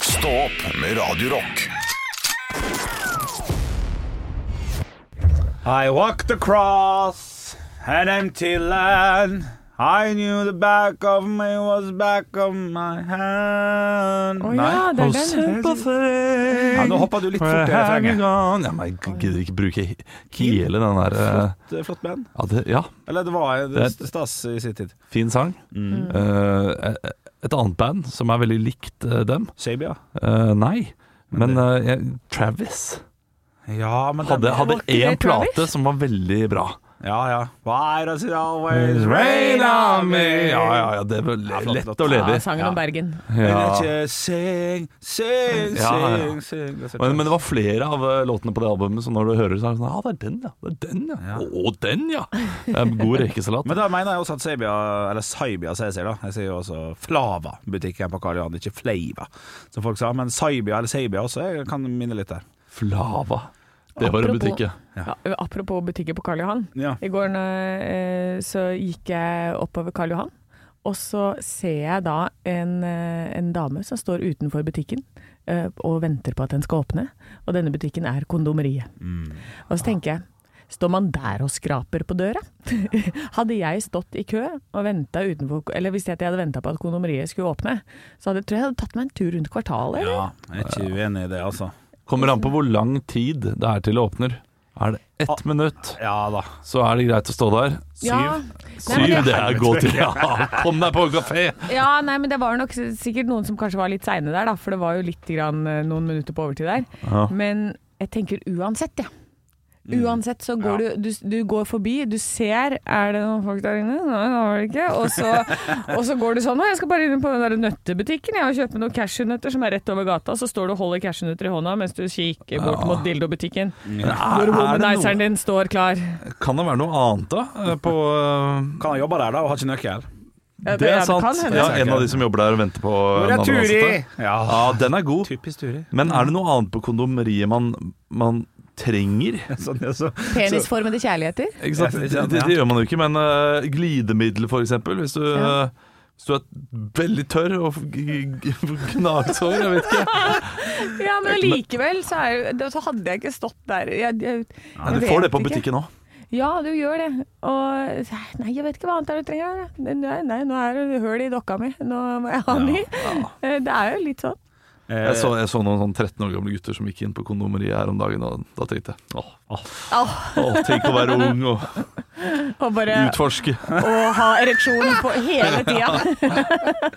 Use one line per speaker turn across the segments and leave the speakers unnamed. Stå opp med Radio Rock.
I walked across an empty land. I knew the back of me was back of my hand.
Å ja, det er den.
Ja, nå hoppa du litt fort i refrenget.
Ja, men jeg gidder ikke bruke he- hele den der eh,
Det er Flott band.
ja, det, ja,
Eller det var det var stas i sin tid.
fin sang. Eh, et annet band som er veldig likt eh, dem.
Shabia.
Eh, nei, men eh, jeg- Travis
Ja, men
hadde,
den-
hadde
Var ikke det
én
Travis?
plate som var veldig bra.
Ja, ja. Why does it always rain
Rain
on me?
Ja, ja, ja, det er vel
Ja, flott,
lett
flott.
å leve
Ja,
i.
sangen om Bergen.
Ja.
Ikke sing, sing,
Ja, ja.
sing, sing. Det er så
Men, men det var flere av eh, låtene på det albumet som når du hører det, så er det sånn Ja, det er den, ja. Det er den, ja.
Ja.
Å, den, ja. Det er en god rekesalat.
Men da mener jeg også at Sabia, eller Saibia som jeg sier da Jeg sier jo også Flava, butikken på Karl Johan, ikke Fleiva, som folk sa. Men Saibia eller Sabia også, jeg kan minne litt der.
Flava. Det var en
Apropos-
butikk, ja.
Ja, apropos butikker på Karl Johan.
Ja.
I går eh, så gikk jeg oppover Karl Johan, og så ser jeg da en, eh, en dame som står utenfor butikken eh, og venter på at den skal åpne. Og denne butikken er Kondomeriet. Og så tenker jeg, står man der og skraper på døra? hadde jeg stått i kø og venta utenfor Eller hvis jeg hadde venta på at Kondomeriet skulle åpne, så hadde, tror jeg jeg hadde tatt meg en tur rundt kvartalet. eller?
Ja, jeg er ikke uenig i det, altså.
Kommer an på hvor lang tid det er til det åpner. Er det ett minutt,
Ja da.
så er det greit å stå der.
Ja. Nei, men
Syv, det er god tid. Ja, kom deg på kafé!
Ja, nei, men det var nok s- sikkert noen som kanskje var litt seine der, da, for det var jo litt grann, eh, noen minutter på overtid der.
Ja. Mm.
Men jeg tenker uansett, jeg. Uansett så går du, du Du går forbi, du ser Er det noen folk der inne? Nei, det var det ikke. Og så, og så går du sånn Å, jeg skal bare inn på den der nøttebutikken jeg, og kjøpe noen cashewnøtter som er rett over gata. Så står du og holder cashewnøtter i hånda mens du kikker bort mot dildobutikken.
Er,
Hvor
er det
womanizeren
noe,
din står klar.
kan det være noe annet, da? eh, På eh,
Kan jeg jobbe der, da, og har ikke nøkkel?
Ja,
Det er
ja,
sant.
kan hende.
Ja, en av de som jobber der og venter på
Hvor
en
er
annen
Turi?
ansatte.
Ja,
Ja, den er god.
typisk Turi.
Men er det noe annet på kondomeriet man, man trenger?
Sånn, ja, så.
Penisformede kjærligheter.
Ikke sant?
Ja,
Det,
ikke sant,
det,
ja.
det gjør man jo ikke, men eh, glidemiddel for eksempel Hvis du,
Ja.
eh, hvis du er veldig tørr og g- g- gnagsår, jeg vet ikke
Ja, men allikevel så, er, det- så hadde jeg ikke stått der. Jeg, jeg,
Nei,
jeg
Du får
vet
det på
ikke.
butikken òg.
Ja, du gjør det. Og nei, jeg vet ikke hva annet er du trenger. jeg. Nei, nei, nå er det høl i dokka mi. Nå må jeg ha en ny. Eh, Det er jo litt sånn.
Jeg så, jeg så noen sånn 13 år gamle gutter som gikk inn på kondomeriet her om dagen, og da tenkte jeg åh, åh,
Åh.
åh, tenk å være ung og
Og bare
utforske.
å ha ereksjon på hele tida.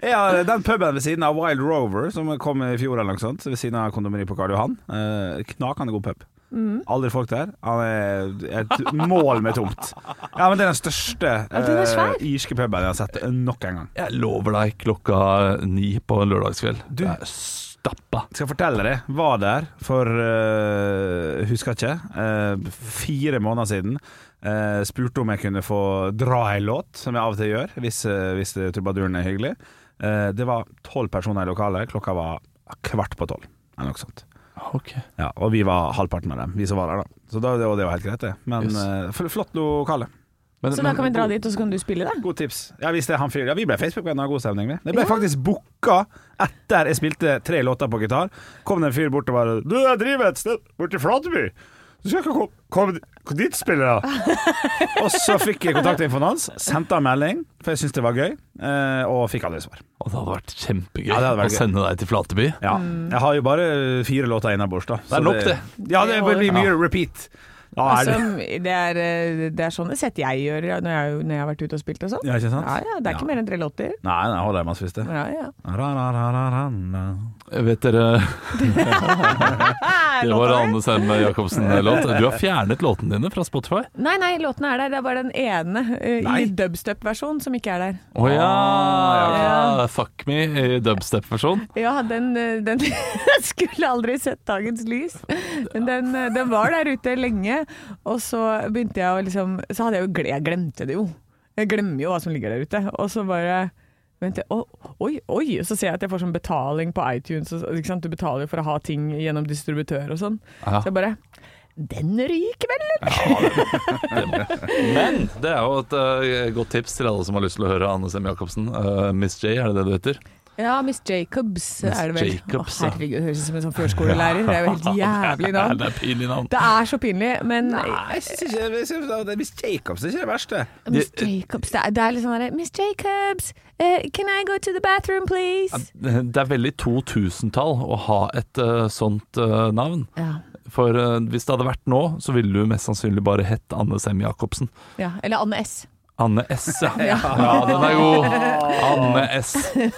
Ja, den puben ved siden av Wild Rover, som kom i fjor eller noe sånt, ved siden av kondomeriet på Karl Johan. Eh, knakende god pub.
Mm.
Aldri folk der. Han er et mål med tomt. Ja, men det er den største
Ja, den er svær.
eh, irske puben jeg har sett nok en gang.
Jeg lover deg klokka ni på en lørdagskveld. Du er stappa.
Skal jeg fortelle deg, var der for eh, Husker ikke. eh, fire måneder siden. eh, spurte om jeg kunne få dra ei låt, som jeg av og til gjør hvis, eh, hvis trubaduren er hyggelig. Eh, det var tolv personer i lokalet. Klokka var kvart på tolv eller noe sånt.
Ok.
Ja, og vi var halvparten av dem, vi som var der da. Så da, det, var, det var helt greit det. Men
Yes.
eh, fl- flott lokale.
Men,
Så da kan vi
men-
dra dit, og så kan du spille det.
God tips. Ja, hvis det er han fyr. Ja, vi ble Facebook-venner og god stemning, vi. Det ble faktisk booka etter jeg spilte tre låter på gitar. Kom det en fyr bort og bare Du, jeg driver et sted borti Flateby. Du skal ikke komme kom, kom dit, spiller jeg. og så fikk jeg kontaktinfoen hans, sendte han melding, for jeg syntes det var gøy, eh, og fikk aldri svar.
Og det hadde vært kjempegøy
Ja, det hadde vært
å
gøy.
sende deg til Flateby.
Ja. Jeg har jo bare eh, fire låter innabords, da.
er
så
nok
Ja, det blir mye repeat. Da er det
Altså, det, er, eh, det er sånn det sett jeg gjør ja, når jeg, når jeg har vært ute og spilt og sånn.
Ja, ikke sant?
Ja, ja, det er ikke mer enn tre låter.
Nei, nei, hold deg med hvis det.
Ja, ja.
Jeg vet dere Det var Anne Selme Jacobsen-låt. Du har fjernet låtene dine fra Spotify.
Nei, nei, låtene er der. Det er bare den ene eh,
Nei.
i dubstep-versjon som ikke er der.
Å ja!
ja.
Fuck me i dubstep-versjon.
Ja, den, eh, den skulle aldri sett dagens lys. Men den, eh, den var der ute lenge, og så begynte jeg å liksom Så hadde jeg jo gle- Jeg glemte det jo. Jeg glemmer jo hva som ligger der ute. Og så bare Vent, jeg- å, oi, oi! Og så ser jeg at jeg får sånn betaling på iTunes. Og, så- ikke sant? Du betaler for å ha ting gjennom distributør og sånn.
Ja.
Så jeg bare Den ryker vel, eller?
Men det er jo et eh, godt tips til alle som har lyst til å høre Anne Sem Jacobsen. Eh, Miss J, er det det du heter?
Ja, Miss Jacobs
Miss
er det vel.
Jacobs,
Å,
ja.
herregud, høres ut som en sånn førskolelærer. Det er jo helt jævlig navn.
det er pinlig navn.
Det er så pinlig, men eh,
Nei, jeg synes ikke jeg synes det er- Miss Jacobs er ikke det verste.
Miss Jacobs Det er, det er litt sånn derre Miss Jacobs, eh, can I go to the bathroom, please?
Det er veldig 2000-tall å ha et eh, sånt eh, navn.
Ja.
For eh, hvis det hadde vært nå, så ville du mest sannsynlig bare hett Anne Sem Jacobsen.
ja. Eller Anne S.
Anne S, ja. ja. Den er god.
Ah.
Anne S.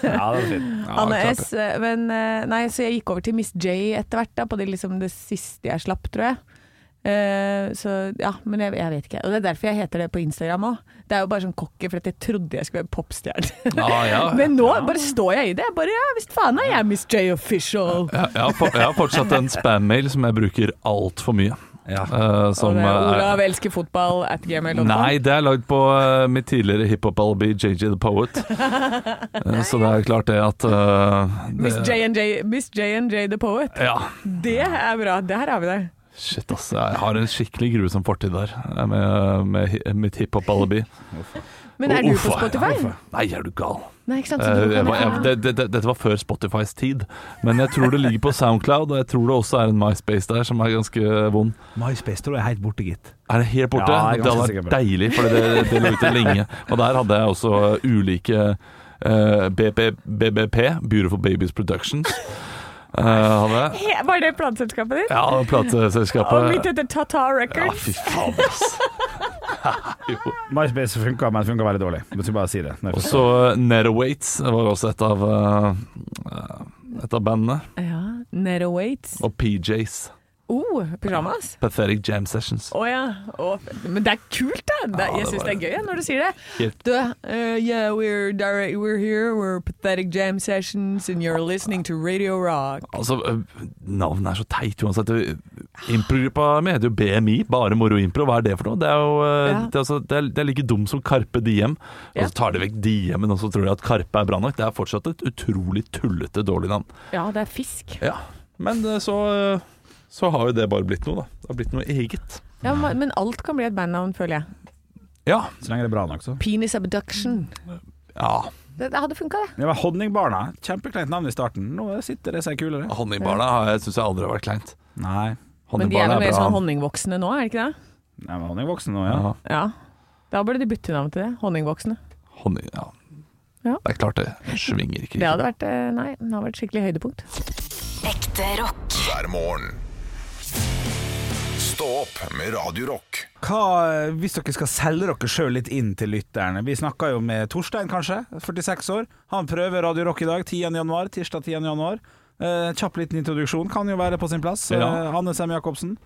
Ja, det er fint.
Ja,
Anne
klart det.
S, eh, men eh, Nei, så jeg gikk over til Miss J etter hvert, da, på det, liksom, det siste jeg slapp, tror jeg. Eh, så ja, men jeg, jeg vet ikke. Og det er derfor jeg heter det på Instagram òg. Det er jo bare sånn cocky, for at jeg trodde jeg skulle være popstjerne.
Ja, ja.
Men nå bare står jeg i det. Jeg Bare ja, visst faen er jeg Miss J official.
Ja, Jeg har, for, jeg har fortsatt en spam-mail som jeg bruker altfor mye.
Ja.
eh, som,
Og det er
eh, er-
Olav elsker fotball at gmail.com.
Nei, det er lagd på eh, mitt tidligere hiphop-alibi JJ The Poet. Eh, så det er klart det at eh, det,
Miss J and J, Miss J and J the Poet.
Ja.
Det er bra. Der har vi det.
Shit, ass. Jeg har en skikkelig grusom fortid der eh, med, med hi- mitt hiphop-alibi.
Men er du på
Uff,
Spotify?
Nei, er du gal.
Nei, ikke sant. Så
Eh,
du
jeg,
kan
var- jeg, det, det, det, dette var før Spotifys tid, men jeg tror det ligger på Soundcloud, og jeg tror det også er en MySpace der som er ganske vond.
MySpace tror jeg er helt borte, gitt.
Er det helt borte?
Ja, jeg er
det hadde
ganske sikker
vært
på det.
deilig, for det, det lå ute lenge. Og der hadde jeg også ulike eh, BP, BBP, Beautiful Babies Productions. eh, hadde jeg.
He- Var det plateselskapet ditt?
Ja, og
Og mitt
plateselskapet.
heter Tata
Ja,
Records.
fy faen, ass. Jo.
MySpace funka, men funka veldig dårlig. Du skal bare si det.
Og så Netawaits var også et av, eh, et av bandene.
Ja, Nero Waits.
Og PJs.
Oh, pyjamas.
Pathetic Jam Sessions.
Å ja. Å, men det er kult, da. Det,
Ja, det
jeg syns
var-
det er gøy ja, når du sier det.
Helt-
Du, eh, yeah, we're, direct, we're here, we're pathetic jam sessions, and you're listening to Radio Rock.
Altså, øh, navnet er så teit uansett. Det- Improgruppa mi heter jo BMI, bare moro impro. Hva er det for noe? Det er jo øh,
Ja.
det er, altså, det er, det er like dum som Karpe Diem. Og
Ja.
så tar de vekk Diemen, og så tror de at Karpe er bra nok. Det er fortsatt et utrolig tullete dårlig navn.
Ja, det er fisk.
Ja, Men øh, så, øh, så har jo det bare blitt noe, da. Det har blitt noe eget.
Ja, ma- men alt kan bli et bandnavn, føler jeg.
Ja.
Så lenge det er bra nok, så.
Penis Abduction.
ja.
Det, det hadde funka, det.
Ja, men Honningbarna. Kjempekleint navn i starten. Nå sitter det seg kulere.
Honningbarna syns jeg aldri har vært kleint.
Nei.
Men de er vel
Honningbarna
mer
bra.
sånn honningvoksne nå, er det ikke det?
Nei, men Honningvoksen nå, ja.
ja.
Ja. Da burde de bytte navn til det. Honningvoksne.
Honning, ja.
Ja.
Det er klart det. Det Svinger ikke.
Det hadde vært eh, Nei, det hadde vært skikkelig høydepunkt.
Ekte rock.
hver morgen. Stå opp med Radio Rock.
Hva, eh, hvis dere skal selge dere sjøl litt inn til lytterne Vi snakka jo med Torstein, kanskje. 46 år. Han prøver Radio Rock i dag, 10. januar, tirsdag 10. januar. Eh, kjapp liten introduksjon kan jo være på sin plass.
Ja.
Eh, Hanne Sem Jacobsen,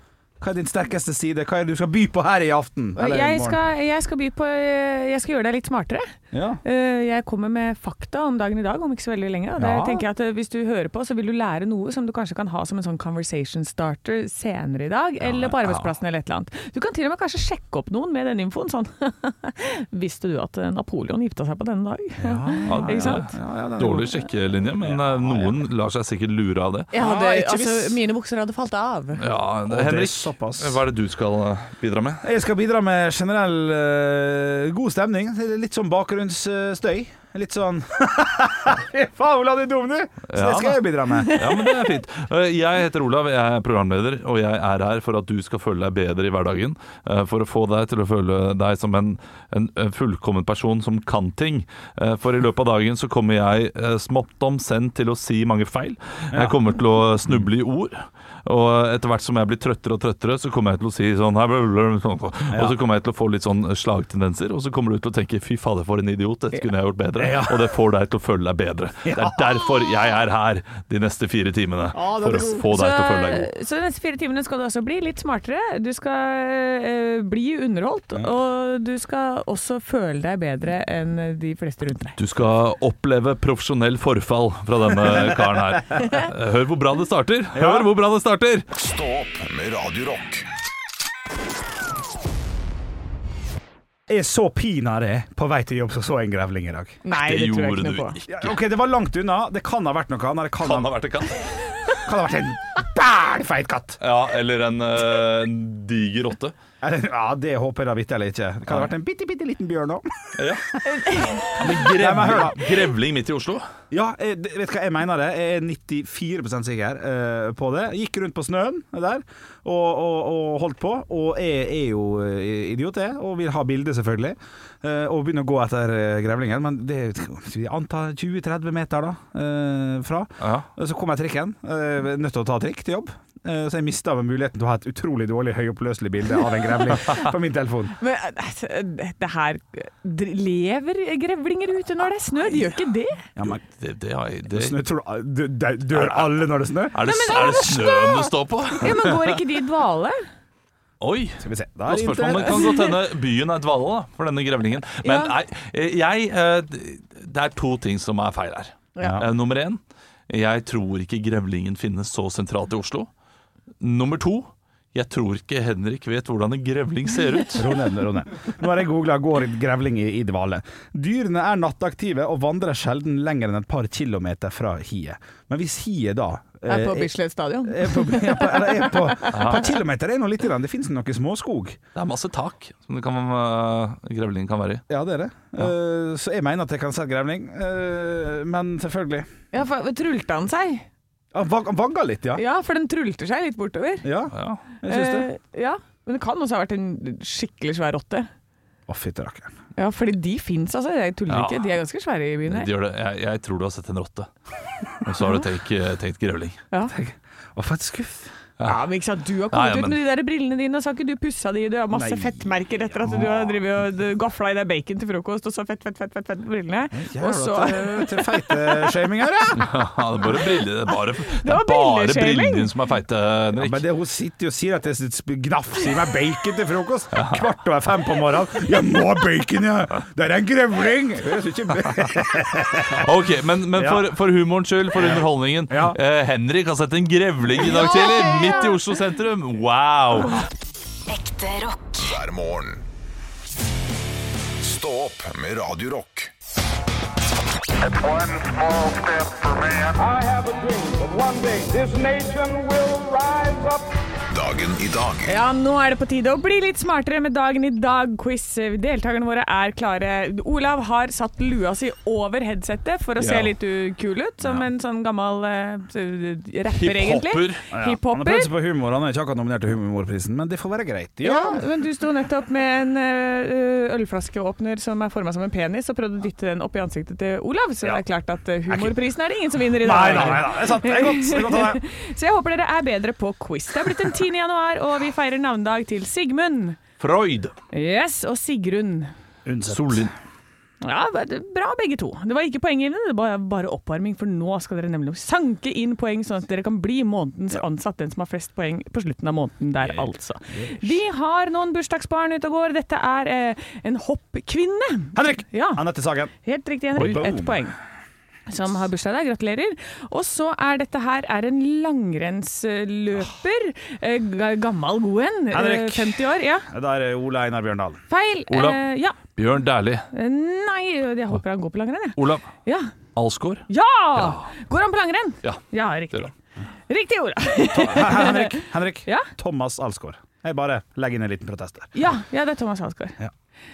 hva er din sterkeste side? Hva er det du skal by på her i aften? Eller i
Jeg
morgen?
skal, jeg skal by på eh, Jeg skal gjøre deg litt smartere.
Ja.
Eh, Jeg kommer med fakta om dagen i dag, om ikke så veldig lenge. Og det
Ja.
tenker jeg at eh, Hvis du hører på, så vil du lære noe som du kanskje kan ha som en sånn conversation starter senere i dag, eller på arbeidsplassen eller et eller annet. Du kan til og med kanskje sjekke opp noen med den infoen. Sånn Visste du at eh, Napoleon gifta seg på denne dag?
Ja,
Ikke sant?
Ja, ja, den er
Dårlig
god.
sjekkelinje, men eh, noen lar seg sikkert lure av det.
Jeg hadde,
Ja, ikke
altså,
hvis-
mine bukser hadde falt av.
Ja,
det er
Henrik,
såpass.
hva er det du skal eh, bidra med?
Jeg skal bidra med generell eh, god stemning. Litt sånn bakgrunnsstøy. Litt sånn Fy faen, Ola, du er dum, du! Så
Ja,
det skal jeg bidra med.
Ja, men det er fint. Eh, Jeg heter Olav, jeg er programleder, og jeg er her for at du skal føle deg bedre i hverdagen. eh, For å få deg til å føle deg som en, en en fullkommen person som kan ting. Eh, For i løpet av dagen så kommer jeg eh, smått om send til å si mange feil. Jeg kommer til å snuble i ord. Og etter hvert som jeg blir trøttere og trøttere, så kommer jeg til å si sånn her, blablabla, Og så kommer jeg til å få litt sånn slagtendenser, og så kommer du til å tenke 'fy fader, for en idiot', dette kunne jeg gjort bedre.
Ja.
Og det får deg til å føle deg bedre. Det er derfor jeg er her de neste fire timene.
Ja, det
For
er
å
god.
få deg til å
så,
føle deg god.
så de neste fire timene skal du altså bli litt smartere. Du skal eh, bli underholdt, og du skal også føle deg bedre enn de fleste rundt deg.
Du skal oppleve profesjonell forfall fra denne karen her. Eh, Hør hvor bra det starter! Hør hvor bra det starter!
Stå opp med Radio Rock
Jeg så pinadø på vei til jobb, så så jeg en grevling i dag.
Nei,
Det
det, tror jeg
gjorde
ikke
du
noe på.
ikke.
Ja, ok, Det var langt unna. Det kan ha vært noe annet. Det kan,
Kan
ha,
ha vært en katt.
kan ha vært en bælfeit katt.
Ja, eller en eh, en diger rotte.
Er det- Ja, det håper jeg da vitterlig ikke. Det kan ha vært en bitte, bitte liten bjørn òg. men hør da.
Grevling, grevling midt i Oslo?
Ja, jeg, det- vet du hva jeg mener det? Jeg er 94 sikker eh, på det. Gikk rundt på snøen der og, og, og holdt på. Og jeg er jo eh, idiot, jeg, og vil ha bilde, selvfølgelig. eh, og begynner å gå etter eh, grevlingen. Men det er anta 20-30 meter da eh, fra.
Ja.
Og Så kom jeg trikken. eh, nødt til å ta trikk til jobb. Eh, så jeg mista muligheten til å ha et utrolig dårlig høyoppløselig bilde av en grevling på min telefon.
Men altså, det her dr- Lever grevlinger ute når det er snø? De gjør ikke det.
Ja, men
Det, det, har jeg- det,
snø, tror du, dø- dø- dør alle når det snør?
er det, er det snøen du står på?
Ja, Men går ikke de i dvale?
Oi!
Skal vi se. Da
Og
er det
spørsmålet
internett.
kan godt hende byen er dvale da, for denne grevlingen. Men
Ja.
nei, jeg, eh, det er to ting som er feil her.
Ja.
Eh, Nummer én, jeg tror ikke grevlingen finnes så sentralt i Oslo. Nummer to, jeg tror ikke Henrik vet hvordan en grevling ser ut.
Ro ned, ro ned. Nå har jeg googla 'går grevling i, i dvale'. Dyrene er nattaktive og vandrer sjelden lenger enn et par kilometer fra hiet. Men hvis hiet da eh,
Er på Bislett stadion?
er på, er på, eller er på, et par kilometer er nå litt grann. Det finnes noe småskog.
Det er masse tak som det kan, eh, grevlingen kan være i.
Ja, det er det. Eh, så jeg mener at jeg kan se grevling. Eh, men selvfølgelig.
Ja, for Trulte han seg?
Ja, vag, vagga litt, ja.
Ja, for den trulter seg litt bortover.
Ja,
Ja.
jeg syns det.
Eh, ja, Men det kan også ha vært en skikkelig svær rotte.
Å, fytti rakkeren.
Ja, fordi de fins, altså. Jeg tuller
Ja.
ikke. De er ganske svære i byen
De
her.
gjør det. Jeg, jeg tror du har sett en rotte. Og så har du tenkt, eh, tenkt grevling.
Ja.
Å, for et skuff.
Ja, men ikke sant? Du har
Nei,
kommet
ja,
ut med de der brillene dine, og så har ikke du pussa de. Du har masse
Nei.
fettmerker etter at du har drevet og du gafla i deg bacon til frokost, og så fett, fett, fett, fett, fett brillene.
Jævla
Og så
til- til feiteshaming her, ja.
Ja, det er bare briller, det er bare, det
var
er bare
brilleskjeling.
brillene dine som er feite,
Ja,
Henrik.
men det, hun sitter jo og sier at jeg sp- gnafser i meg bacon til frokost kvart over fem på morgenen. Jeg må ha bacon, jeg! Det er en grevling! Høres ikke
Ok, Men, men
Ja.
for, for humorens skyld, for underholdningen.
Ja.
Eh, Henrik har sett en grevling i dag tidlig, midt i Oslo sentrum. Wow!
Ekte rock.
hver morgen. Stå opp med Radio Rock.
One small step for man.
I have a dream that one day this nation will rise up.
Dagen i dag
ja, nå er det på tide å bli litt smartere med Dagen i dag-quiz. Deltakerne våre er klare. Olav har satt lua si over headsetet for å se
Ja.
litt uh, kul ut, som en sånn gammal eh, rapper, egentlig.
Hiphopper.
Han har
Hiphopper.
prøvd seg på humor, han er ikke akkurat nominert til Humorprisen, men det får være greit. Ja.
Ja, men du sto nettopp med en ø, ølflaskeåpner som er forma som en penis, og prøvde å dytte den opp i ansiktet til Olav. Så det er klart at ø, humorprisen er det ingen som vinner i
Nei
dag.
da, nei da. Det er sant. Det er godt. Det er godt av deg.
Så jeg håper dere er bedre på quiz. Det er blitt den 10. januar, og vi feirer navnedag til Sigmund.
Freud.
Yes, og Sigrun.
Solin.
Ja, Bra, begge to. Det var ikke poenggivende, det var bare oppvarming. For nå skal dere nemlig sanke inn poeng, sånn at dere kan bli månedens ansatt, den som har flest poeng på slutten av måneden der, altså. Vi har noen bursdagsbarn ute og går. Dette er eh, en hoppkvinne.
Henrik!
Ja,
Anette Sagen.
helt riktig, Henrik.
Oi, boom.
Ett poeng. Som har bursdag i dag. Gratulerer. Og så er dette her er en langrennsløper. Eh, ga- gammel god en. Eh,
Henrik.
50 år. Ja,
Det der er Ole Einar Bjørndalen.
feil.
Olav.
Eh, ja.
Bjørn Dæhlie.
Eh, Nei, jeg håper han går på langrenn, jeg.
Olav
Ja.
Alsgaard.
Ja! Går han på langrenn?
Ja.
Ja,
Det
riktig.
er
Riktig, Ola.
Henrik. Henrik.
Ja?
Thomas Alsgaard. Jeg bare legger inn en liten protest der.
Ja, ja, det er Thomas Alsgaard.
Ja.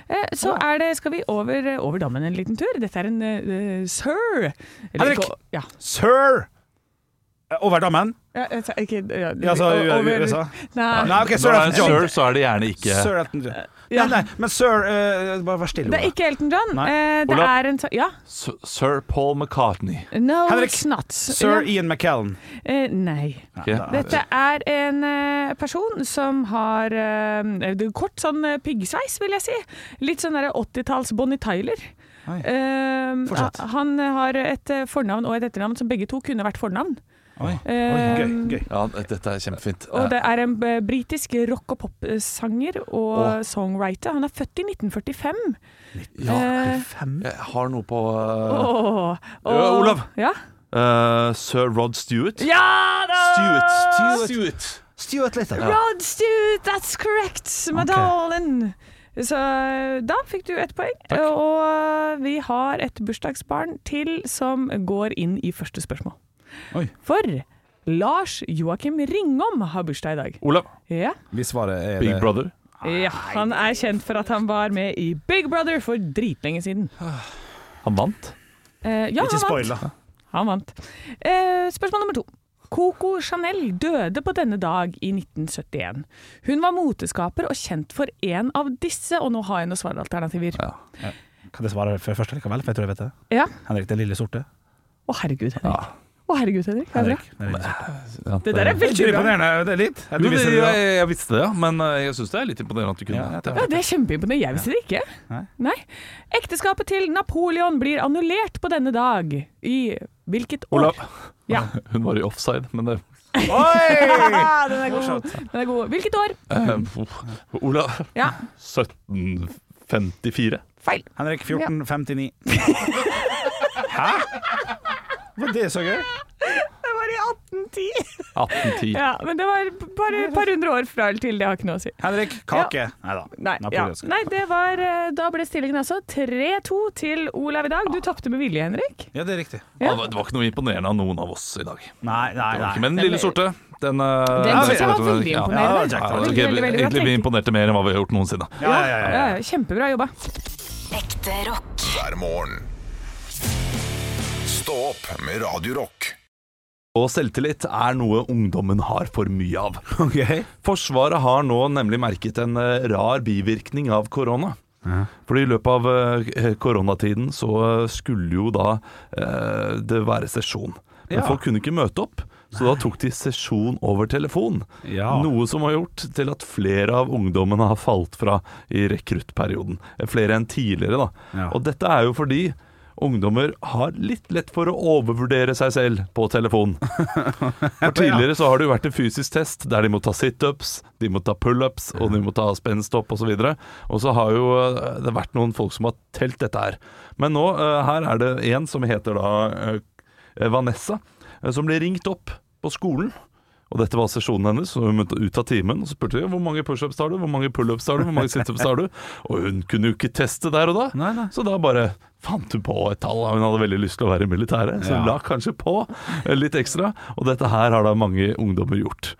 Eh, Så er det, skal vi over, eh, over dammen en liten tur. Dette er en eh, sir. Eller
Henrik!
ikke- Ja.
Sir! Eh, Over dammen?
Ja, jeg sa ikke ja,
Ja, så
o- over-
USA.
Nei.
Nei, OK,
Når
sir
det er
Elton John.
sir, så er det gjerne ikke
Sir Elton John.
Ah. Eh, Ja.
Nei, nei, men sir eh, Bare vær stille.
Det er
Ole.
ikke Elton John.
Nei.
Eh, det
Olav.
er en Ja.
Sir- Sir Paul McCartney.
No,
Henrik.
it's not.
Sir
ja.
Ian McKellen.
eh, Nei.
Ok.
Dette er en eh, person som har eh, det- kort sånn eh, piggsveis, vil jeg si. Litt sånn der 80-talls Bonnie Tyler.
Oi.
Eh,
Fortsett.
ha- han har et eh, fornavn og et etternavn som begge to kunne vært fornavn.
Oi.
Eh,
Gøy. gøy
Ja, dette er kjempefint.
Og det er en eh, britisk rock- og popsanger og
Åh.
songwriter. Han er født i 1945.
Ja,
Eh,
jeg har noe på
Åh, og-
Ja, Olav.
Ja,
eh, Sir Rod Stewart.
ja da!
Stewart. Stewart.
Stuart Little.
Ja.
Rod Stewart, that's correct, my
Ok.
darling. Så eh, da fikk du ett poeng.
Takk.
Og eh, vi har et bursdagsbarn til som går inn i første spørsmål.
Oi.
For Lars Joakim Ringom har bursdag i dag.
Olav.
Ja.
Hvis svaret er
Big
det-
Brother.
Ja, han er kjent for at han var med i Big Brother for dritlenge siden.
Han vant.
Eh, ja,
Ikke
han vant.
spoil, da.
Han vant. Eh, spørsmål nummer to. Coco Chanel døde på denne dag i 1971. Hun var moteskaper og kjent for én av disse, og nå har jeg noen svaralternativer. Ja.
Kan jeg svare for først likevel, for jeg tror jeg vet det. Henrik den lille sorte.
Å, herregud, Henrik. Å, herregud, Henrik. Det, er bra.
Henrik, den lille sorte.
Ja,
det der er
Det
veldig
er
bra.
imponerende. Det er litt. Du
Jo, det,
visste
jeg,
det, da.
jeg visste det, ja, men eh, jeg syns det er litt imponerende at du kunne
Ja,
det.
Ja, det er kjempeimponerende. Jeg visste det ikke.
Nei.
Nei. Ekteskapet til Napoleon blir annullert på denne dag i hvilket år?
Olav,
Ja.
hun var i offside, men det
Oi!
Ah, den, er god. den er god. Hvilket år?
eh,
Mm.
Olav
Ja,
1754.
feil.
Henrik 1459. Hæ? Var det så gøy?
Det var i 1810.
1810.
Ja, men det var bare et par hundre år fra eller til. Det har ikke noe å si.
Henrik Kake. Neida.
Nei, ja.
Napoleonsk.
Nei det var, eh, da ble stillingen altså 3-2 til Olav i dag. Du tapte med vilje, Henrik.
Ja, det er riktig.
Ja, Ah, det var ikke noe imponerende av noen av oss i dag.
Nei, nei,
Det var
nei.
ikke- Men den lille sorte, den eh,
Den synes
vi-
jeg var
vet du hva-
veldig
ja.
Ja, det var
imponerende.
kjekt, det
Ja,
var
ok,
kjekt.
Veldig, veldig bra
Egentlig vi
tenkt.
imponerte mer enn hva vi har gjort noensinne.
Ja, ja, ja, ja.
Ja, kjempebra jobba.
Ekte rock.
hver morgen. Stå opp med Radio Rock.
Og selvtillit er noe ungdommen har for mye av.
Ok.
Forsvaret har nå nemlig merket en eh, rar bivirkning av korona. Fordi i løpet av eh, koronatiden så eh, skulle jo da eh, det være sesjon. Men
Ja.
folk kunne ikke møte opp, så da tok de sesjon over telefon.
Ja.
Noe som har gjort til at flere av ungdommene har falt fra i rekruttperioden. Eh, Flere enn tidligere, da.
Ja.
Og dette er jo fordi ungdommer har litt lett for å overvurdere seg selv på telefon. For tidligere så har det jo vært en fysisk test der de må ta situps, de må ta pullups, og de må ta spensthopp osv. Og så har jo eh, det vært noen folk som har telt dette her. Men nå, eh, her er det en som heter da eh, Vanessa, eh, som ble ringt opp på skolen. Og dette var sesjonen hennes, og hun måtte ut av timen og så spurte de, hvor mange pushups tar du, hvor mange pullups tar du, hvor mange situps tar du? Og hun kunne jo ikke teste der og da,
Nei, nei.
så da bare fant hun på et tall. og Hun hadde veldig lyst til å være i militæret, så hun
Ja.
la kanskje på eh, litt ekstra. Og dette her har da mange ungdommer gjort.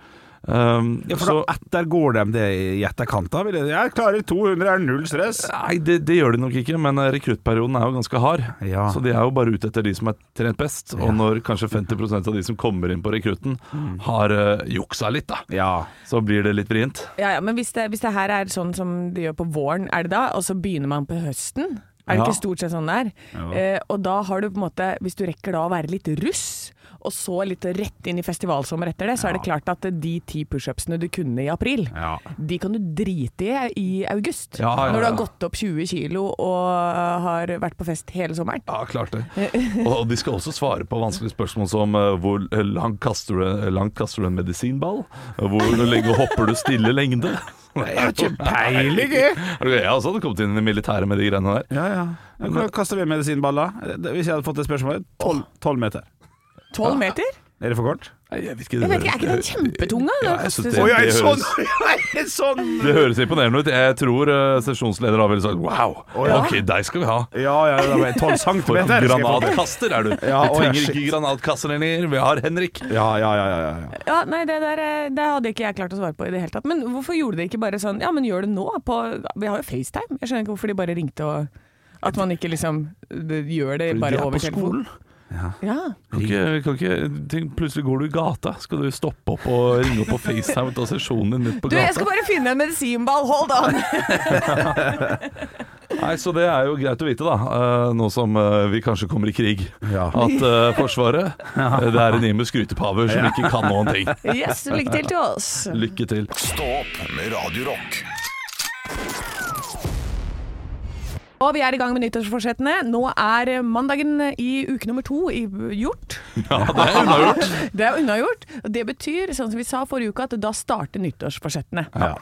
Um,
Ja, for
så,
da ettergår de det i etterkant, da? vil jeg- Jeg klarer 200, er null stress.
Nei, det, det gjør de nok ikke, men eh, rekruttperioden er jo ganske hard.
Ja.
Så de er jo bare ute etter de som er trent best. Og når kanskje 50 av de som kommer inn på rekrutten, har eh, juksa litt, da,
Ja.
så blir det litt vrient.
Ja, ja, men hvis det, hvis det her er sånn som de gjør på våren, er det da? Og så begynner man på høsten? Er det
Ja.
ikke stort sett sånn det er? Eh, og da har du på en måte, hvis du rekker da å være litt russ, og så litt rett inn i festivalsommer etter det, så er det klart at de ti pushupsene du kunne i april,
Ja.
de kan du drite i i august.
Ja, ja,
Når du
ja.
har gått opp 20 kilo og har vært på fest hele sommeren.
Ja, klart det. Og de skal også svare på vanskelige spørsmål som eh, hvor langt kaster du, eh, langt kaster du en medisinball? Hvor lenge hopper du stille lengde? Jeg har ikke
peiling, jeg.
Jeg har også hadde kommet inn i militæret med de greiene der.
Ja, ja. Hvordan kaster vi medisinballer? Det- Hvis jeg hadde fått det spørsmålet 12, 12 meter.
12 meter?
Er det for kort?
Nei, Jeg vet ikke,
Jeg vet ikke, er ikke den kjempetunga?
Ja, jeg synes det-
Å ja, en
høres-
sånn! en sånn!
Det høres imponerende ut. Jeg tror eh, sesjonsleder har vel sagt wow, ok, deg skal vi ha.
Ja, ja, det var 12
For en
centimeter. skal jeg få til.
granatkaster er du.
Ja,
vi
å, ja,
trenger
shit.
ikke granatkasser lenger, vi har Henrik.
Ja, ja, ja, ja, ja.
Ja, nei, det der eh, det hadde ikke jeg klart å svare på i det hele tatt. Men hvorfor gjorde de ikke bare sånn Ja, men gjør det nå. På, vi har jo FaceTime. Jeg skjønner ikke hvorfor de bare ringte og At man ikke liksom det, gjør det
Fordi
bare
de er
over
på skolen.
Ja.
Kan ikke, kan ikke, tenk, plutselig går du i gata, skal du stoppe opp og ringe opp på FaceTime og ta sesjonen din midt på
Du, jeg skal
gata?
bare finne en medisinball, hold on!
Nei, Så det er jo greit å vite, da, eh, nå som eh, vi kanskje kommer i krig,
Ja.
at eh, Forsvaret eh, det er en gjeng med skrytepaver som ikke kan noen ting.
Yes, lykke til til oss.
Lykke til.
Stå opp med Radio Rock.
Og vi er i gang med nyttårsforsettene. Nå er eh, mandagen i uke nummer to i, gjort.
Ja, det er unnagjort.
Det er unnagjort. og Det betyr, sånn som vi sa forrige uke, at da starter nyttårsforsettene.
Ja.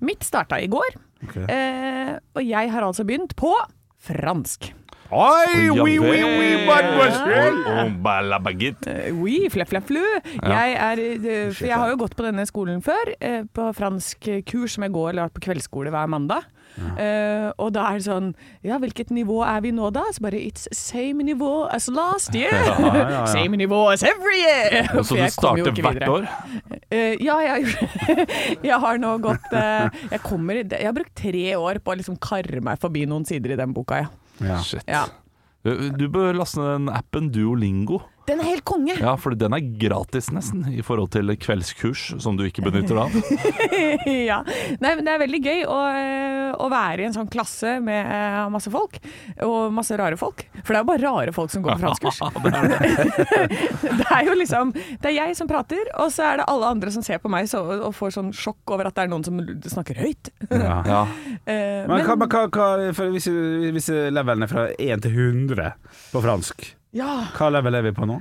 Mitt starta i går,
Ok.
eh, og jeg har altså begynt på fransk.
Oi, oui, oui, oui, mademoiselle!
mademoiselle!
Eh, oui, flefleflu. Jeg, er, eh, for jeg har jo gått på denne skolen før, eh, på fransk kurs som jeg går eller har på kveldsskole hver mandag. Eh, og da er det sånn Ja, hvilket nivå er vi nå, da? Så bare It's same nivå as last year.
ja, ja.
Same nivå as every year.
Så
For
du
jeg kommer jo
starter
ikke
hvert
videre.
år?
Eh, ja, jeg, jeg har nå gått eh, jeg, kommer, i- jeg har brukt tre år på å liksom karre meg forbi noen sider i den boka, ja.
Ja.
Shit.
ja.
Du bør laste ned den appen Duolingo.
Den er helt konge!
Ja, for den er gratis nesten i forhold til kveldskurs som du ikke benytter deg av.
ja. Nei, men det er veldig gøy å, eh, å være i en sånn klasse med eh, masse folk, og masse rare folk. For det er jo bare rare folk som går på franskkurs. det er jo liksom Det er jeg som prater, og så er det alle andre som ser på meg så, og får sånn sjokk over at det er noen som snakker høyt.
Ja.
Ja.
Eh,
Men, hva, men hva, hva for hvis, hvis levelen er fra 1 til 100 på fransk,
ja.
hva level er vi på nå?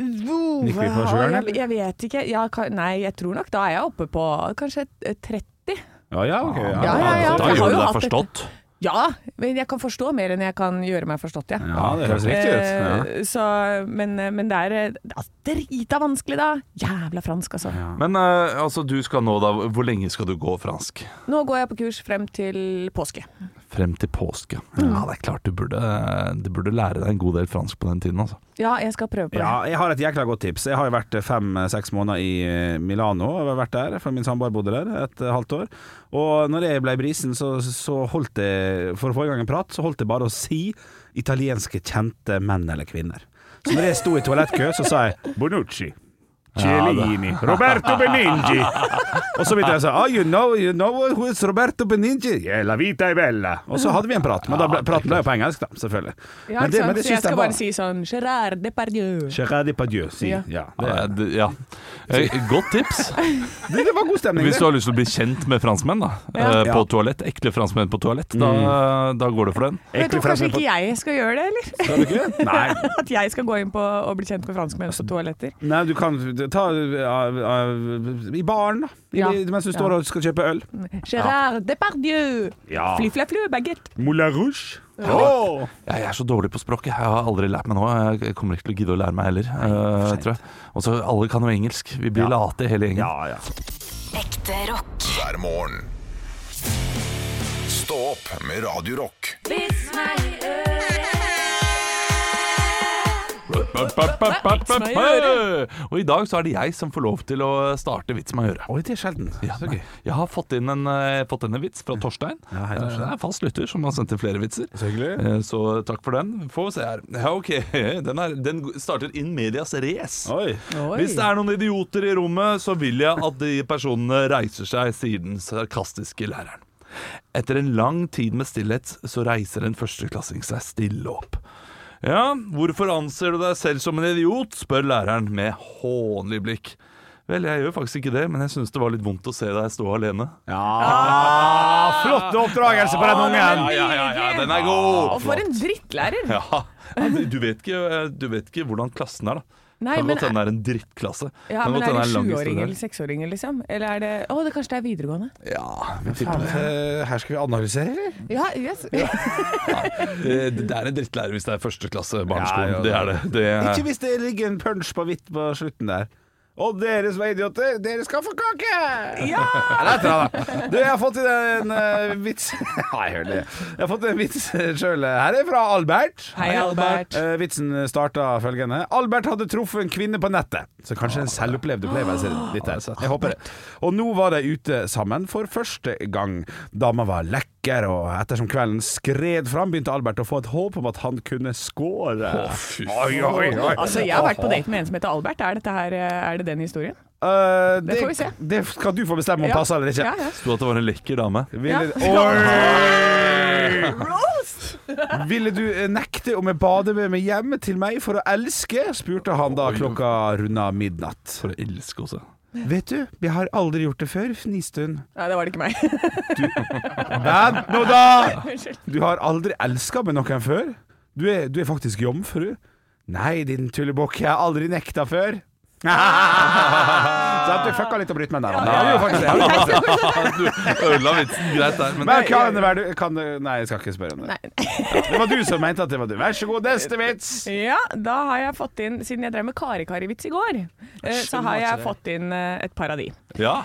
Wow,
Nikker vi på
ja,
sjøen,
jeg, jeg vet ikke. Ja, ka- nei, jeg tror nok da er jeg oppe på kanskje eh, 30.
Ja, ja, ok. Ja,
Ja, ja, ja,
Da
for jeg har
gjør du
jo
deg
hatt et-
forstått.
Ja, men jeg kan forstå mer enn jeg kan gjøre meg forstått, ja.
Ja, det høres riktig ut. Ja.
Eh, Så, men, men det er eh, det er drita vanskelig, da. Jævla fransk, altså.
Men eh, altså, du skal nå da Hvor lenge skal du gå fransk?
Nå går jeg på kurs frem til påske.
Frem til påske.
Mm.
Ja, det er klart du burde, du burde lære deg en god del fransk på den tiden, altså.
Ja, jeg skal prøve på det.
Ja, jeg har et jækla godt tips. Jeg har jo vært fem-seks måneder i eh, Milano. og Jeg har vært der, for Min samboer bodde der et eh, halvt år. Og når jeg ble brisen, så, så holdt jeg For å få i gang en prat, så holdt jeg bare å si italienske kjente menn eller kvinner. Så når jeg sto i toalettkø, så sa jeg Bonucci. Cielini, Roberto Beningi. Og så begynte jeg å si ah, you, know, you know who is Roberto Beningi? Yeah, la vita è bella. Og så hadde vi en prat, men da ble, praten ble jo på engelsk, da, selvfølgelig.
Ja,
Men
ikke
det- men
sant?
det
Så
syns
jeg skal
var-
bare si sånn Gérard Depardieu.
Gérard Depardieu, si.
Ja.
Ja. det,
Ja, det- ja. Eh, Godt tips.
det, det var god stemning.
Hvis
det.
du har lyst til å bli kjent med franskmenn, da.
Ja.
eh,
Ja.
På
Mm.
toalett. Ekle franskmenn på toalett. Da, da går det for den.
Jeg tror kanskje
franskmenn
ikke jeg skal gjøre det, eller?
på- Skal du ikke? Nei.
At jeg skal gå inn på å bli kjent med franskmenn på toaletter.
Nei, du kan ta uh, uh, eh, i baren, da. I,
Ja.
Mens du
Ja.
står og skal kjøpe øl.
Gérard Depardieu!
Ja.
Fly, fly, fly, baguette!
Moulin Rouge. Oh!
Jeg er så dårlig på språket. Jeg har aldri lært meg noe. Jeg kommer ikke til å gidde å lære meg heller. eh, tror jeg. Og så alle kan jo engelsk. Vi blir late hele gjengen.
Ja, ja.
Ekte rock.
hver morgen. Stå opp med Radio Rock.
Og i dag så er det jeg som får lov til å starte Vits meg å gjøre.
Oi, det er sjelden.
Ja,
Så gøy.
jeg har fått inn en, eh, fått inn en vits fra Torstein.
Ja, hei, Torstein.
Eh, Det er fast lytter som har sendt inn flere vitser.
Så hyggelig.
Eh, Så takk for den. Få se her. Ja, ok. Den, er, den starter in medias race.
Oi.
Hvis det er noen idioter i rommet, så vil jeg at de personene reiser seg, sier den sarkastiske læreren. Etter en lang tid med stillhet, så reiser en førsteklassing seg stille opp. Ja, hvorfor anser du deg selv som en idiot? spør læreren med hånlig blikk. Vel, jeg gjør faktisk ikke det, men jeg syns det var litt vondt å se deg stå alene.
Ja.
Ah,
Flott oppdragelse altså på den ungen.
ja, ja, ja, den er god!
Og for en drittlærer!
Ja, ja, du- du vet, ikke, eh, du vet ikke hvordan klassen er, da.
Nei,
kan
men-
godt hende det er en drittklasse.
Ja,
Kan
men
godt
er
hende
det
en lang
sjuåringer
historie.
eller seksåringer, liksom? Eller er det Å, det kanskje det er videregående?
Ja, vi tipper det.
Eh, Her skal vi analysere, eller?
Ja, yes.
Eh, Det, det er en drittlærer hvis det er førsteklasse
Ja, ja,
barneskolen. det er det. det er,
Ikke hvis det ligger en punch på hvitt på slutten der. Og dere som er idioter, dere skal få kake! Ja! Du, jeg har fått inn en eh, vits Nei, hør det. Jeg har fått en vits sjøl. Her er fra Albert.
Hei, Albert.
Eh, vitsen starta følgende. Albert hadde truffet en kvinne på nettet. Så kanskje en selvopplevd opplevelse. Litt her. Jeg håper det. Og nå var de ute sammen for første gang. Dama var lekker, og ettersom kvelden skred fram, begynte Albert å få et håp om at han kunne score.
Å, fy
Oi, oi, oi.
Altså, jeg har vært på date med en som heter Albert. Er, dette her, er det den historien?
Eh, det,
får vi se.
Det skal du få bestemme om
Ja.
passer eller ikke.
Ja, ja.
Sto at det var en lekker dame.
Ville, Oi! Ville du eh, nekte om jeg bader med meg hjem til meg for å elske? spurte han da klokka runda midnatt.
For å elske også.
Vet du, jeg har aldri gjort det før, fniste hun.
Nei, det var det ikke meg.
Men nå da!
Unnskyld.
Du har aldri elska med noen før? Du er, du er faktisk jomfru? Nei, din tullebukk, jeg har aldri nekta før. Så at du fucka litt opp rytmen der. Anne. Ja, du gjorde faktisk det.
Du ødela vitsen greit der, men
Men kan det være du kan det, Nei, jeg skal ikke spørre om det. Det var du som mente at det var du. Vær så god, neste vits!
Ja, da har jeg fått inn Siden jeg drev med Kari-Kari-vits i går, eh, så har jeg fått inn eh, et par av de.
Ja.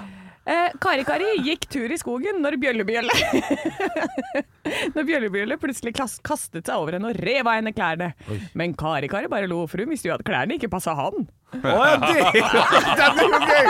Eh, Kari-Kari gikk tur i skogen når Bjøllebjølle Når Bjøllebjølle plutselig klas- kastet seg over henne og rev av henne klærne. Men Kari-Kari bare lo, for hun visste jo at klærne ikke passa han.
Å ja, det! Den er jo gøy!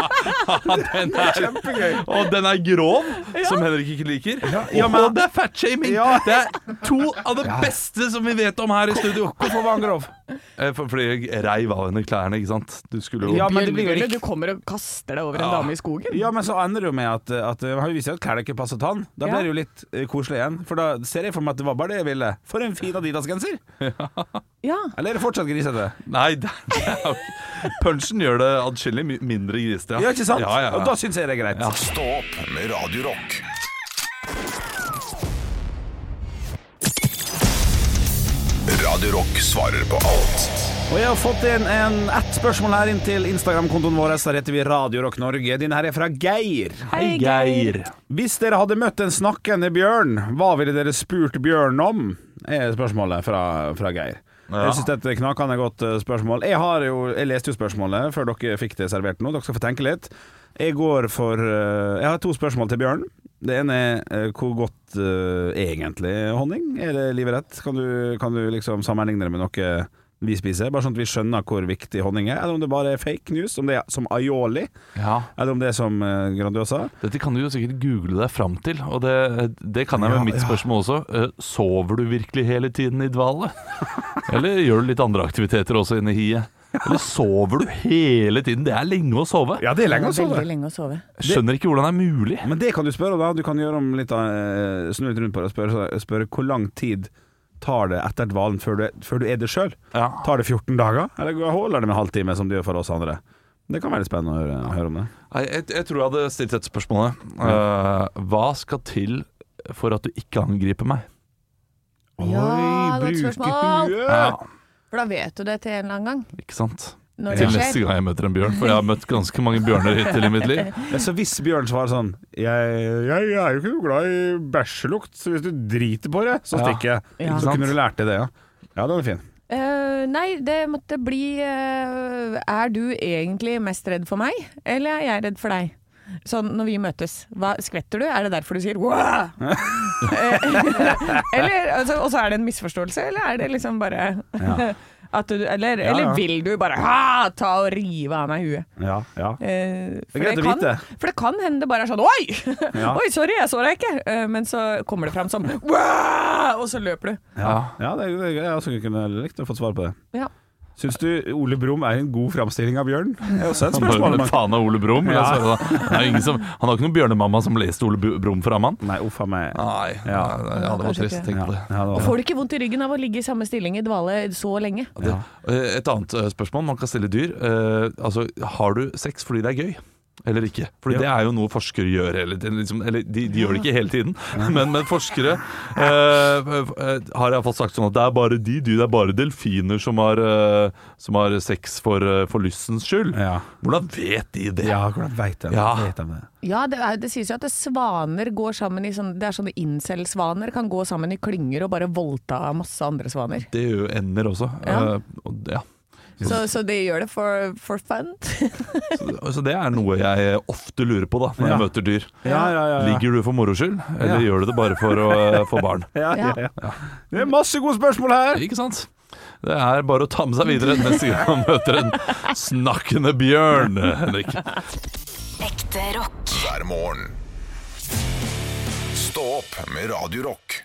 Den er,
Kjempegøy.
og den er grov, som Henrik ikke liker.
ja, men-
og det er fatshaming!
Ja.
Det er to av det beste som vi vet om her i studio.
Hvorfor var han grov?
Eh, For, fordi jeg reiv av henne klærne, ikke sant? Du skulle jo
Ja, men det blir jo
Bjørnebjørne, du
likt.
kommer og kaster deg over en dame i skogen.
Ja, men så ender det jo med at, at Han viser jo at klærne ikke passet han. Da
Ja.
ble det jo litt eh, koselig igjen. For da ser jeg for meg at det var bare det jeg ville. For en fin Adidas-genser!
Ja.
Eller er det fortsatt grisete?
Nei, det det er jo Punchen gjør det adskillig my- mindre grisete.
Ja, ikke sant?
Ja, ja, ja.
Og da syns jeg det er greit.
Stå opp med Radio Rock. Radio Rock svarer på alt.
Og jeg har fått inn en, ett spørsmål her inn til Instagram-kontoen vår. Der heter vi Radio Rock Norge. Din her er fra Geir.
Hei, Geir.
Hvis dere hadde møtt en snakkende bjørn, hva ville dere spurt bjørnen om? Er spørsmålet fra, fra Geir.
Ja.
Jeg syns dette er et knakende godt eh, spørsmål. Jeg, har jo, jeg leste jo spørsmålet før dere fikk det servert nå. Dere skal få tenke litt. Jeg går for eh, Jeg har to spørsmål til bjørnen. Det ene er eh, hvor godt eh, er egentlig honning? Er det livet rett? Kan du, kan du liksom sammenligne det med noe vi spiser? Bare sånn at vi skjønner hvor viktig honning er. Eller om det bare er fake news, om det er som aioli,
Ja.
eller om det er som eh, Grandiosa.
Dette kan du jo sikkert google deg fram til, og det, det kan jeg med
Ja,
mitt
ja.
spørsmål også. Eh, Sover du virkelig hele tiden i dvale? Eller gjør du litt andre aktiviteter også inne i hiet? Eller sover du hele tiden? Det er lenge å sove.
Ja, det er lenge å sove.
Veldig lenge å sove.
Jeg skjønner ikke hvordan det er mulig.
Men det kan du spørre om, da. Du kan gjøre om litt av, eh, snu litt rundt på det og spørre, spørre hvor lang tid tar det etter dvalen før, du- før du er det sjøl?
Ja.
Tar det 14 dager, eller går- holder det med halvtime, som det gjør for oss andre? Det kan være litt spennende å høre, høre om det.
Nei, Jeg, jeg tror jeg hadde stilt dette spørsmålet. Eh, hva skal til for at du ikke angriper meg?
Ja, godt
bruke
spørsmål.
huet!
For da vet du det til en eller annen gang.
Ikke sant?
Når det
Til neste
skjer.
gang jeg møter en bjørn, for jeg har møtt ganske mange bjørner hittil i mitt liv.
Ja, så hvis Bjørn svarer sånn jeg, jeg, er jo ikke noe glad i bæsjelukt, så hvis du driter på det, så
Ja.
stikker jeg.
Ja.
Så kunne du lært deg det, ja. Ja, den er fin.
Eh, nei, det måtte bli eh, Er du egentlig mest redd for meg, eller er jeg redd for deg? Sånn når vi møtes. Hva, skvetter du? Er det derfor du sier «Wah!» Eh, eller, altså, Og så er det en misforståelse, eller er det liksom bare at du, eller,
Ja, ja.
eller vil du bare «Ah, ta og rive av meg huet?
Ja, ja.
Eh, for,
Det er greit å
kan,
vite.
for det kan hende det bare er sånn Oi!
Ja.
Oi, sorry, jeg så deg ikke! Eh, men så kommer det fram som «Wah!» Og så løper du.
Ja.
ja det, er- det, er- jeg også kunne likt å få svar på det.
Ja.
Syns du Ole Brumm er en god framstilling av bjørn? Det er også et
Han
spørsmål.
hører
man-
med faen av Ole Brumm. men
Ja.
altså, Han, er jo ingen som- han har ikke noen bjørnemamma som leste Ole Bu- Brumm for ham, han.
Nei, uff a meg.
Nei,
Ja.
ja, det var
Kanskje
trist.
ikke.
Tenk på det.
Ja, det var det.
Får du ikke vondt i ryggen av å ligge i samme stilling i dvale så lenge?
Det, eh, Et annet eh, spørsmål man kan stille dyr. eh, altså, har du sex fordi det er gøy? Eller ikke. Fordi
Ja.
det er jo noe forskere gjør hele tiden. Liksom, eller de, de gjør det ikke hele tiden, men, men forskere eh, eh, har iallfall sagt sånn at det er bare de, de det er bare delfiner som har, eh, som har sex for, eh, for lystens skyld.
Ja.
Hvordan vet de det?
Ja, hvordan veit de
Ja.
Vet de det?
Ja, det, er, det sies jo at det svaner går sammen i sånn Det er sånne incel-svaner kan gå sammen i klynger og bare voldta masse andre svaner.
Det gjør jo ender også.
Ja.
Eh, og, ja.
Så, så de gjør det for, for fun.
Så, så Altså, det er noe jeg ofte lurer på da når
Ja.
jeg møter dyr.
Ja, ja, ja. ja.
Ligger du for moro skyld, eller
Ja.
gjør du det bare for å eh, få barn?
Ja, ja, ja. Det er masse gode spørsmål her!
Ikke sant? Det er bare å ta med seg videre neste gang man møter en snakkende bjørn, Henrik.
Ekte rock.
hver morgen. Stå opp med Radio Rock.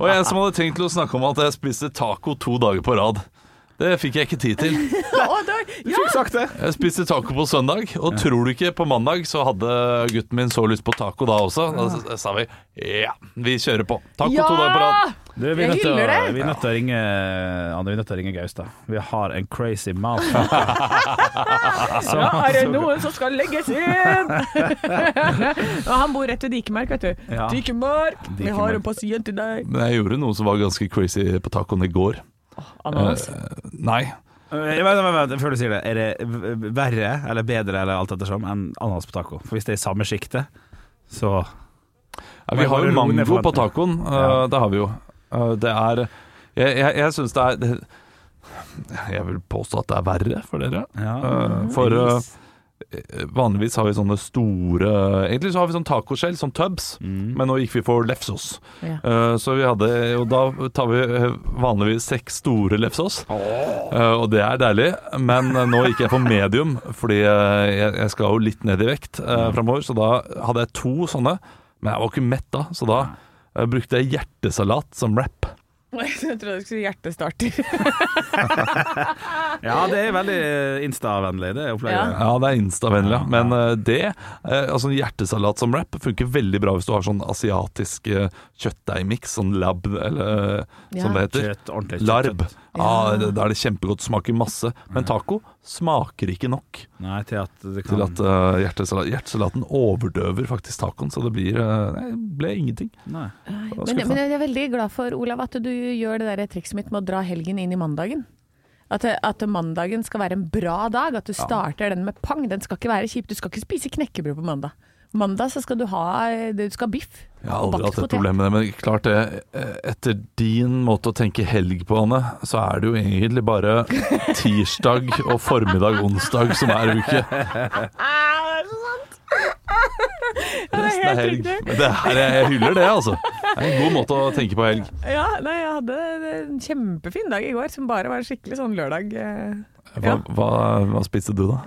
Og jeg som hadde tenkt til å snakke om at jeg spiste taco to dager på rad. Det fikk jeg ikke tid til.
Å, da-
Du
ja.
fikk sagt det.
Jeg spiste taco på søndag, og tror du ikke, på mandag så hadde gutten min så lyst på taco da også. Da s- sa vi ja, vi kjører på. Taco
Ja!
to dager på rad.
Du, vi
Jeg
er nødt til å-
hyller det.
vi er nødt til å ringe Anne, vi er nødt til å ringe Gaustad. Vi har en crazy mouth.
Ja, er det noen som skal legges inn? og han bor rett ved Dikemark, vet du.
Ja.
Dikemark, vi
Dikemark.
har en pasient til deg.
Men jeg gjorde noe som var ganske crazy på tacoen i går.
Ananas.
Eh, Nei.
Vent, vent, vent, før du sier det. Er det v- verre eller bedre eller alt ettersom enn ananas på taco? For hvis det er i samme sjiktet, så
Ja, vi
Men
har
bare
jo
ro ned
mango
for-
på tacoen. eh,
Ja.
Det har vi jo. Eh, det er Jeg, jeg, jeg syns det er det, Jeg vil påstå at det er verre for dere.
ja.
Eh, for eh, eh, Vanligvis har vi sånne store Egentlig så har vi sånn tacoskjell, sånn tubs,
Mm.
men nå gikk vi for lefsos.
Ja.
Eh, Så vi hadde Og da tar vi eh, vanligvis seks store lefsos, Eh, og det er deilig. Men eh, nå gikk jeg for medium, fordi eh, jeg, jeg skal jo litt ned i vekt eh, framover, så da hadde jeg to sånne. Men jeg var ikke mett da, så da eh, brukte jeg hjertesalat som wrap.
Jeg trodde du skulle si hjertestarter.
Ja, det er veldig eh, instavennlig, det opplegget.
Ja, det er instavennlig, ja. Men eh, det, eh, altså en hjertesalat som wrap, funker veldig bra hvis du har sånn asiatisk eh, kjøttdeigmiks, sånn lab, eller eh, som det heter.
Kjøtt, ordentlig kjøtt,
Larb.
kjøtt.
Ah, det- da er det kjempegodt, smaker masse. Men taco smaker ikke nok
Nei, til at det kan
til at eh, hjertesalat, hjertesalaten overdøver faktisk tacoen, så det blir, eh, nei, det ble ingenting.
Nei.
Det var
Men,
skuffende.
men jeg er veldig glad for, Olav, at du gjør det der trikset mitt med å dra helgen inn i mandagen. At, at mandagen skal være en bra dag, at du starter den med pang. Den skal ikke være kjip. Du skal ikke spise knekkebrød på mandag. Mandag så skal du ha eh, du skal ha biff.
Jeg har aldri
Bakt
hatt et
potet.
problem med det, men klart det. eh, Etter din måte å tenke helg på, Anne, så er det jo egentlig bare tirsdag og formiddag onsdag som er uke.
Ah,
Resten er helg. Men Det her, jeg hyller det, altså. Det er en god måte å tenke på helg.
Ja, nei, jeg hadde en kjempefin dag i går som bare var en skikkelig sånn lørdag. eh. Ja.
Hva, hva, hva spiste du, da?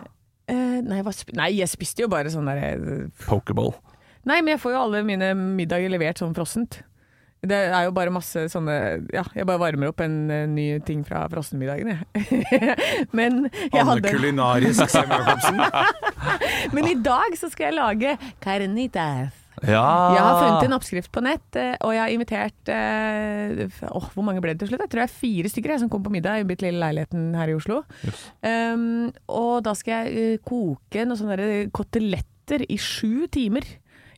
Eh, nei, hva sp nei, jeg spiste jo bare sånn der eh,
Pokerball.
Nei, men jeg får jo alle mine middager levert sånn frossent. Det er jo bare masse sånne Ja, jeg bare varmer opp en eh, ny ting fra frossenmiddagen, jeg. men, jeg hadde,
kulinarisk, Sem Jacobsen.
men i dag så skal jeg lage carnitas.
Ja.
Jeg har
Ah.
funnet en oppskrift på nett, eh, og jeg har invitert eh, f- åh, Hvor mange ble det til slutt? Jeg tror det er fire stykker jeg, som kom på middag i bitte lille leiligheten her i Oslo. Um, og da skal jeg eh, koke noen sånne der koteletter i sju timer.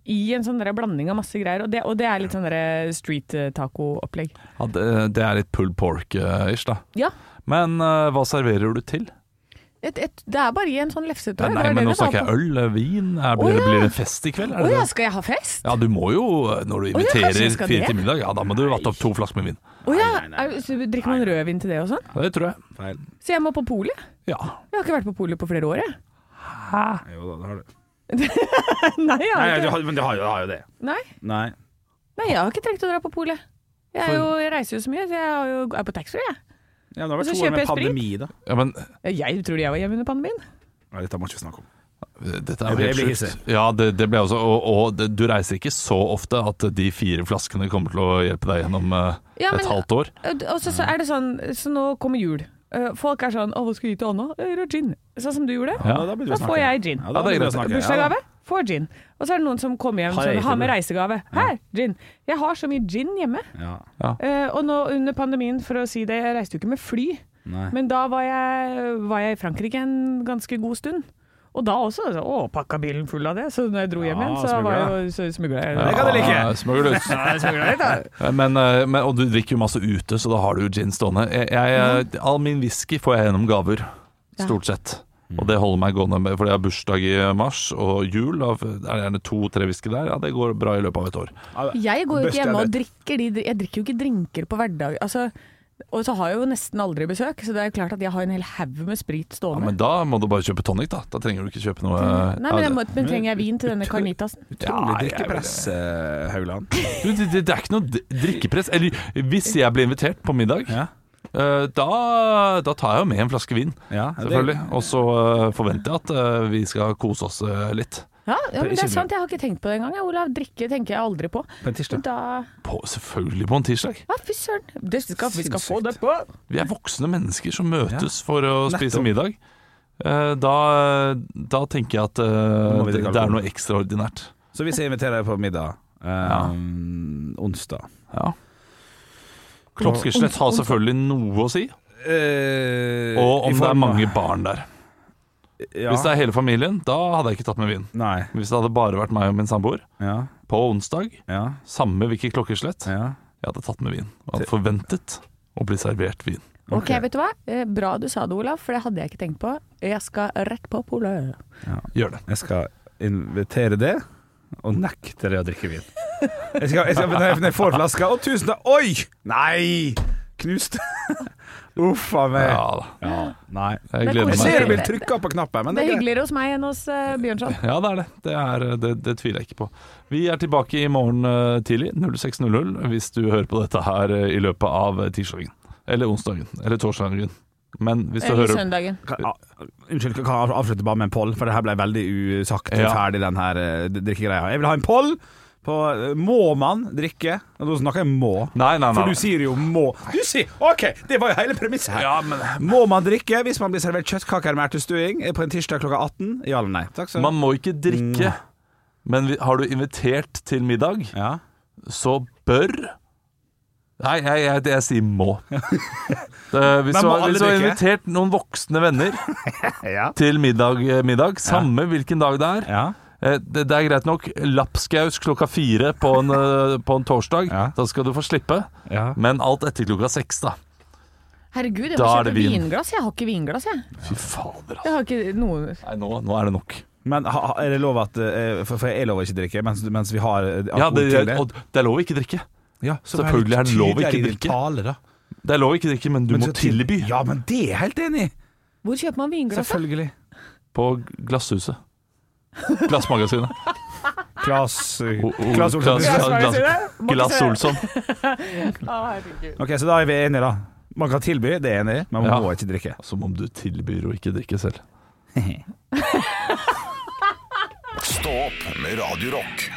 I en sånn der blanding av masse greier. Og det, og det er litt sånn der street eh, taco-opplegg.
ja, det, det er litt pulled pork-ish, da.
Ja.
Men eh, hva serverer du til?
Et, et, det er bare i en sånn lefsetøy.
Nei, men nå snakker jeg øl, eh, vin. Er, blir,
Å, ja.
blir det en fest i kveld? Er
Å
det
ja,
det?
skal jeg ha fest?
Ja, du må jo, eh, når
Å,
du
ja, kanskje
inviterer
jeg skal
fire
det.
til middag, ja, da må du vatte opp to flasker med vin.
Å ja. er- så du Drikker man rødvin til det og sånn?
Det tror jeg.
Feil.
Så jeg må på polet?
Ja.
Jeg har ikke vært på polet på flere år, jeg.
Jo da, det har du.
Nei, jeg
Nei,
har
du
ikke.
har, men du har, jo- du har jo det.
Nei.
Nei.
Nei, jeg har ikke trengt å dra på polet. Jeg, er jo, jeg reiser jo så mye, så jeg har jo, er på taxfree, jeg.
Ja, men det har
Og så
vært to år
kjøper
med
jeg sprit.
pandemi, da.
ja, men
Jeg tror jeg var hjemme under pandemien.
Nei, dette må vi ikke snakke om.
eh, dette er jo
Jeg blir- jeg blir
helt sjukt. Ja, det, det ble også, og, og det, du reiser ikke så ofte at de fire flaskene kommer til å hjelpe deg gjennom eh,
Ja, men-
et halvt år.
Og så, så er det sånn, så nå kommer jul. Eh, Folk er sånn 'Å, hva skal vi gi til Ånå?' Eh, Rød gin. Sånn som du gjorde.
Ja.
da begynner vi å
Da
snakke.
får jeg gin.
Ja, da begynner vi å snakke. Ja, da.
Bursdagsgave? Får gin. Og så er det noen som kommer hjem og
Har jeg
sånn,
ikke
har med
det?
reisegave. Her, gin. Jeg har så mye gin hjemme.
Ja.
Eh, og nå under pandemien, for å si det, jeg reiste jo ikke med fly,
Nei.
men da var jeg, var jeg i Frankrike en ganske god stund. Og da også, så, å, pakka bilen full av det. Så når jeg dro hjem
Ja,
igjen, så
smugla.
var jeg jo smugla.
Det kan jeg like.
Ja, smugler ut. Men, eh, men, og du drikker jo masse ute, så da har du jo gin stående. Jeg, jeg,
Mhm.
all min whisky får jeg gjennom gaver,
Ja.
stort sett.
Mhm.
Og det holder meg gående, med, fordi jeg har bursdag i eh, mars og jul. Da er det gjerne to-tre whisky der. Ja, det går bra i løpet av et år.
Jeg går jo
Best
ikke hjemme
jeg
og drikker de Jeg drikker jo ikke drinker på hverdag. Altså, og så har jeg jo nesten aldri besøk, så det er jo klart at jeg har en hel haug med sprit
Ja,
stående.
men da må du bare kjøpe tonic, da. Da trenger du ikke kjøpe noe eh,
Nei, men,
Ja,
jeg må, men trenger jeg vin til denne carnitasen?
Utrolig
Ja, jeg
drikkepress, eh, Haugland.
Du, det, det, det er ikke noe d- drikkepress. Eller hvis jeg blir invitert på middag,
Ja.
eh, da, da tar jeg jo med en flaske vin,
Ja, det-
selvfølgelig. Og så eh, forventer jeg at eh, vi skal kose oss eh, litt.
Ja, ja, men det er sant, jeg har ikke tenkt på det engang. jeg, Olav, drikke tenker jeg aldri på.
På en tirsdag.
Men Da,
På, selvfølgelig på en tirsdag.
ja, fy søren. Det skal- Vi skal få
Sinnssykt.
det på!
Vi er voksne mennesker som møtes
Ja.
for å
Nettopp.
spise middag. Eh, Da, da tenker jeg at eh,
må vi
det,
drikke
det er
alkohol.
noe ekstraordinært.
Så hvis jeg inviterer deg på middag eh, onsdag
Ja. Klokkeslett har selvfølgelig noe å si,
eh, i
og om det er
form av-
mange barn der.
ja,
Hvis det er hele familien, da hadde jeg ikke tatt med vin.
Nei.
Hvis det hadde bare vært meg og min samboer
Ja,
på onsdag,
ja,
samme hvilket klokkeslett,
ja.
jeg hadde tatt med vin. Og hadde forventet å bli servert vin.
Ok, vet du hva? Eh, Bra du sa det, Olav, for det hadde jeg ikke tenkt på. Jeg skal rett på polet.
Gjør det.
Jeg skal invitere det, og nekte det å drikke vin. Jeg skal, jeg skal, når jeg- når jeg får flaska Å, tusen takk! Oi! Nei! Knust. Uff a meg.
Ja da.
Ja, Nei.
Jeg
Det er
gleder
Jeg
koselig.
meg.
ser du vil trykke på knappen,
Det
men
er
det er greit.
hyggeligere hos meg enn hos eh, Bjørnson.
Ja, det er det. Det, er, det. det tviler jeg ikke på. Vi er tilbake i morgen eh, tidlig, 06.00, hvis du hører på dette her eh, i løpet av tirsdagen. Eller onsdagen. Eller torsdagen. Men hvis du
Eller
hører
Eh, søndagen.
Kan- ah, Unnskyld, kan jeg avslutte bare med en poll? For det her ble veldig usagt
Ja.
ferdig, den her eh, drikkegreia. Jeg vil ha en poll på eh, Må man drikke? Og Nå snakker jeg må.
Nei, nei, nei.
For du sier jo må. Du sier OK! Det var jo hele premisset her.
Ja, men
Må man drikke hvis man blir servert kjøttkaker med ertestuing på en tirsdag klokka 18? Ja eller nei? Takk skal
Man må ikke drikke. Men vi- har du invitert til middag,
Mm. Ja.
så bør Nei, jeg, jeg, jeg sier må. Eh, hvis
Men
du
må
har
alle
hvis du har
drikke?
invitert noen voksne venner
Ja.
til middag, eh, middag samme hvilken dag det er,
Ja.
Eh, Det, det er greit nok. Lapskaus klokka fire på en, eh, på en torsdag.
Ja.
Da skal du få slippe.
Ja.
Men alt etter klokka seks, da.
Herregud, jeg må
Da er
kjøpe
det vin.
vinglass. Jeg har ikke vinglass, jeg.
Fy fader, altså.
Jeg har ikke noe
Nei, nå, nå er det nok.
Men ha, ha- er det lov at eh, For, for jeg lover ikke å drikke mens, mens vi har eh,
Ja,
alkohol
det,
til det.
og det er lov å ikke drikke.
Ja, så vær
selvfølgelig
litt
er det lov å ikke
tydeligere i din
drikke.
Tale, da.
Det er lov å ikke drikke, men du
Men
må
så til-
tilby
Ja, men det er jeg helt enig i.
Hvor kjøper man vinglass? da?
Selvfølgelig.
på Glasshuset. Glassmagasinet.
Klass
O- o-
Klass eh, Olsson.
Klass- Glass, glass Olsson.
Ok, så da er vi enige, da. Man kan tilby, det er jeg enig i, men man
Ja.
må ikke drikke.
Som om du tilbyr å ikke drikke selv.
Stå opp med Radio Rock.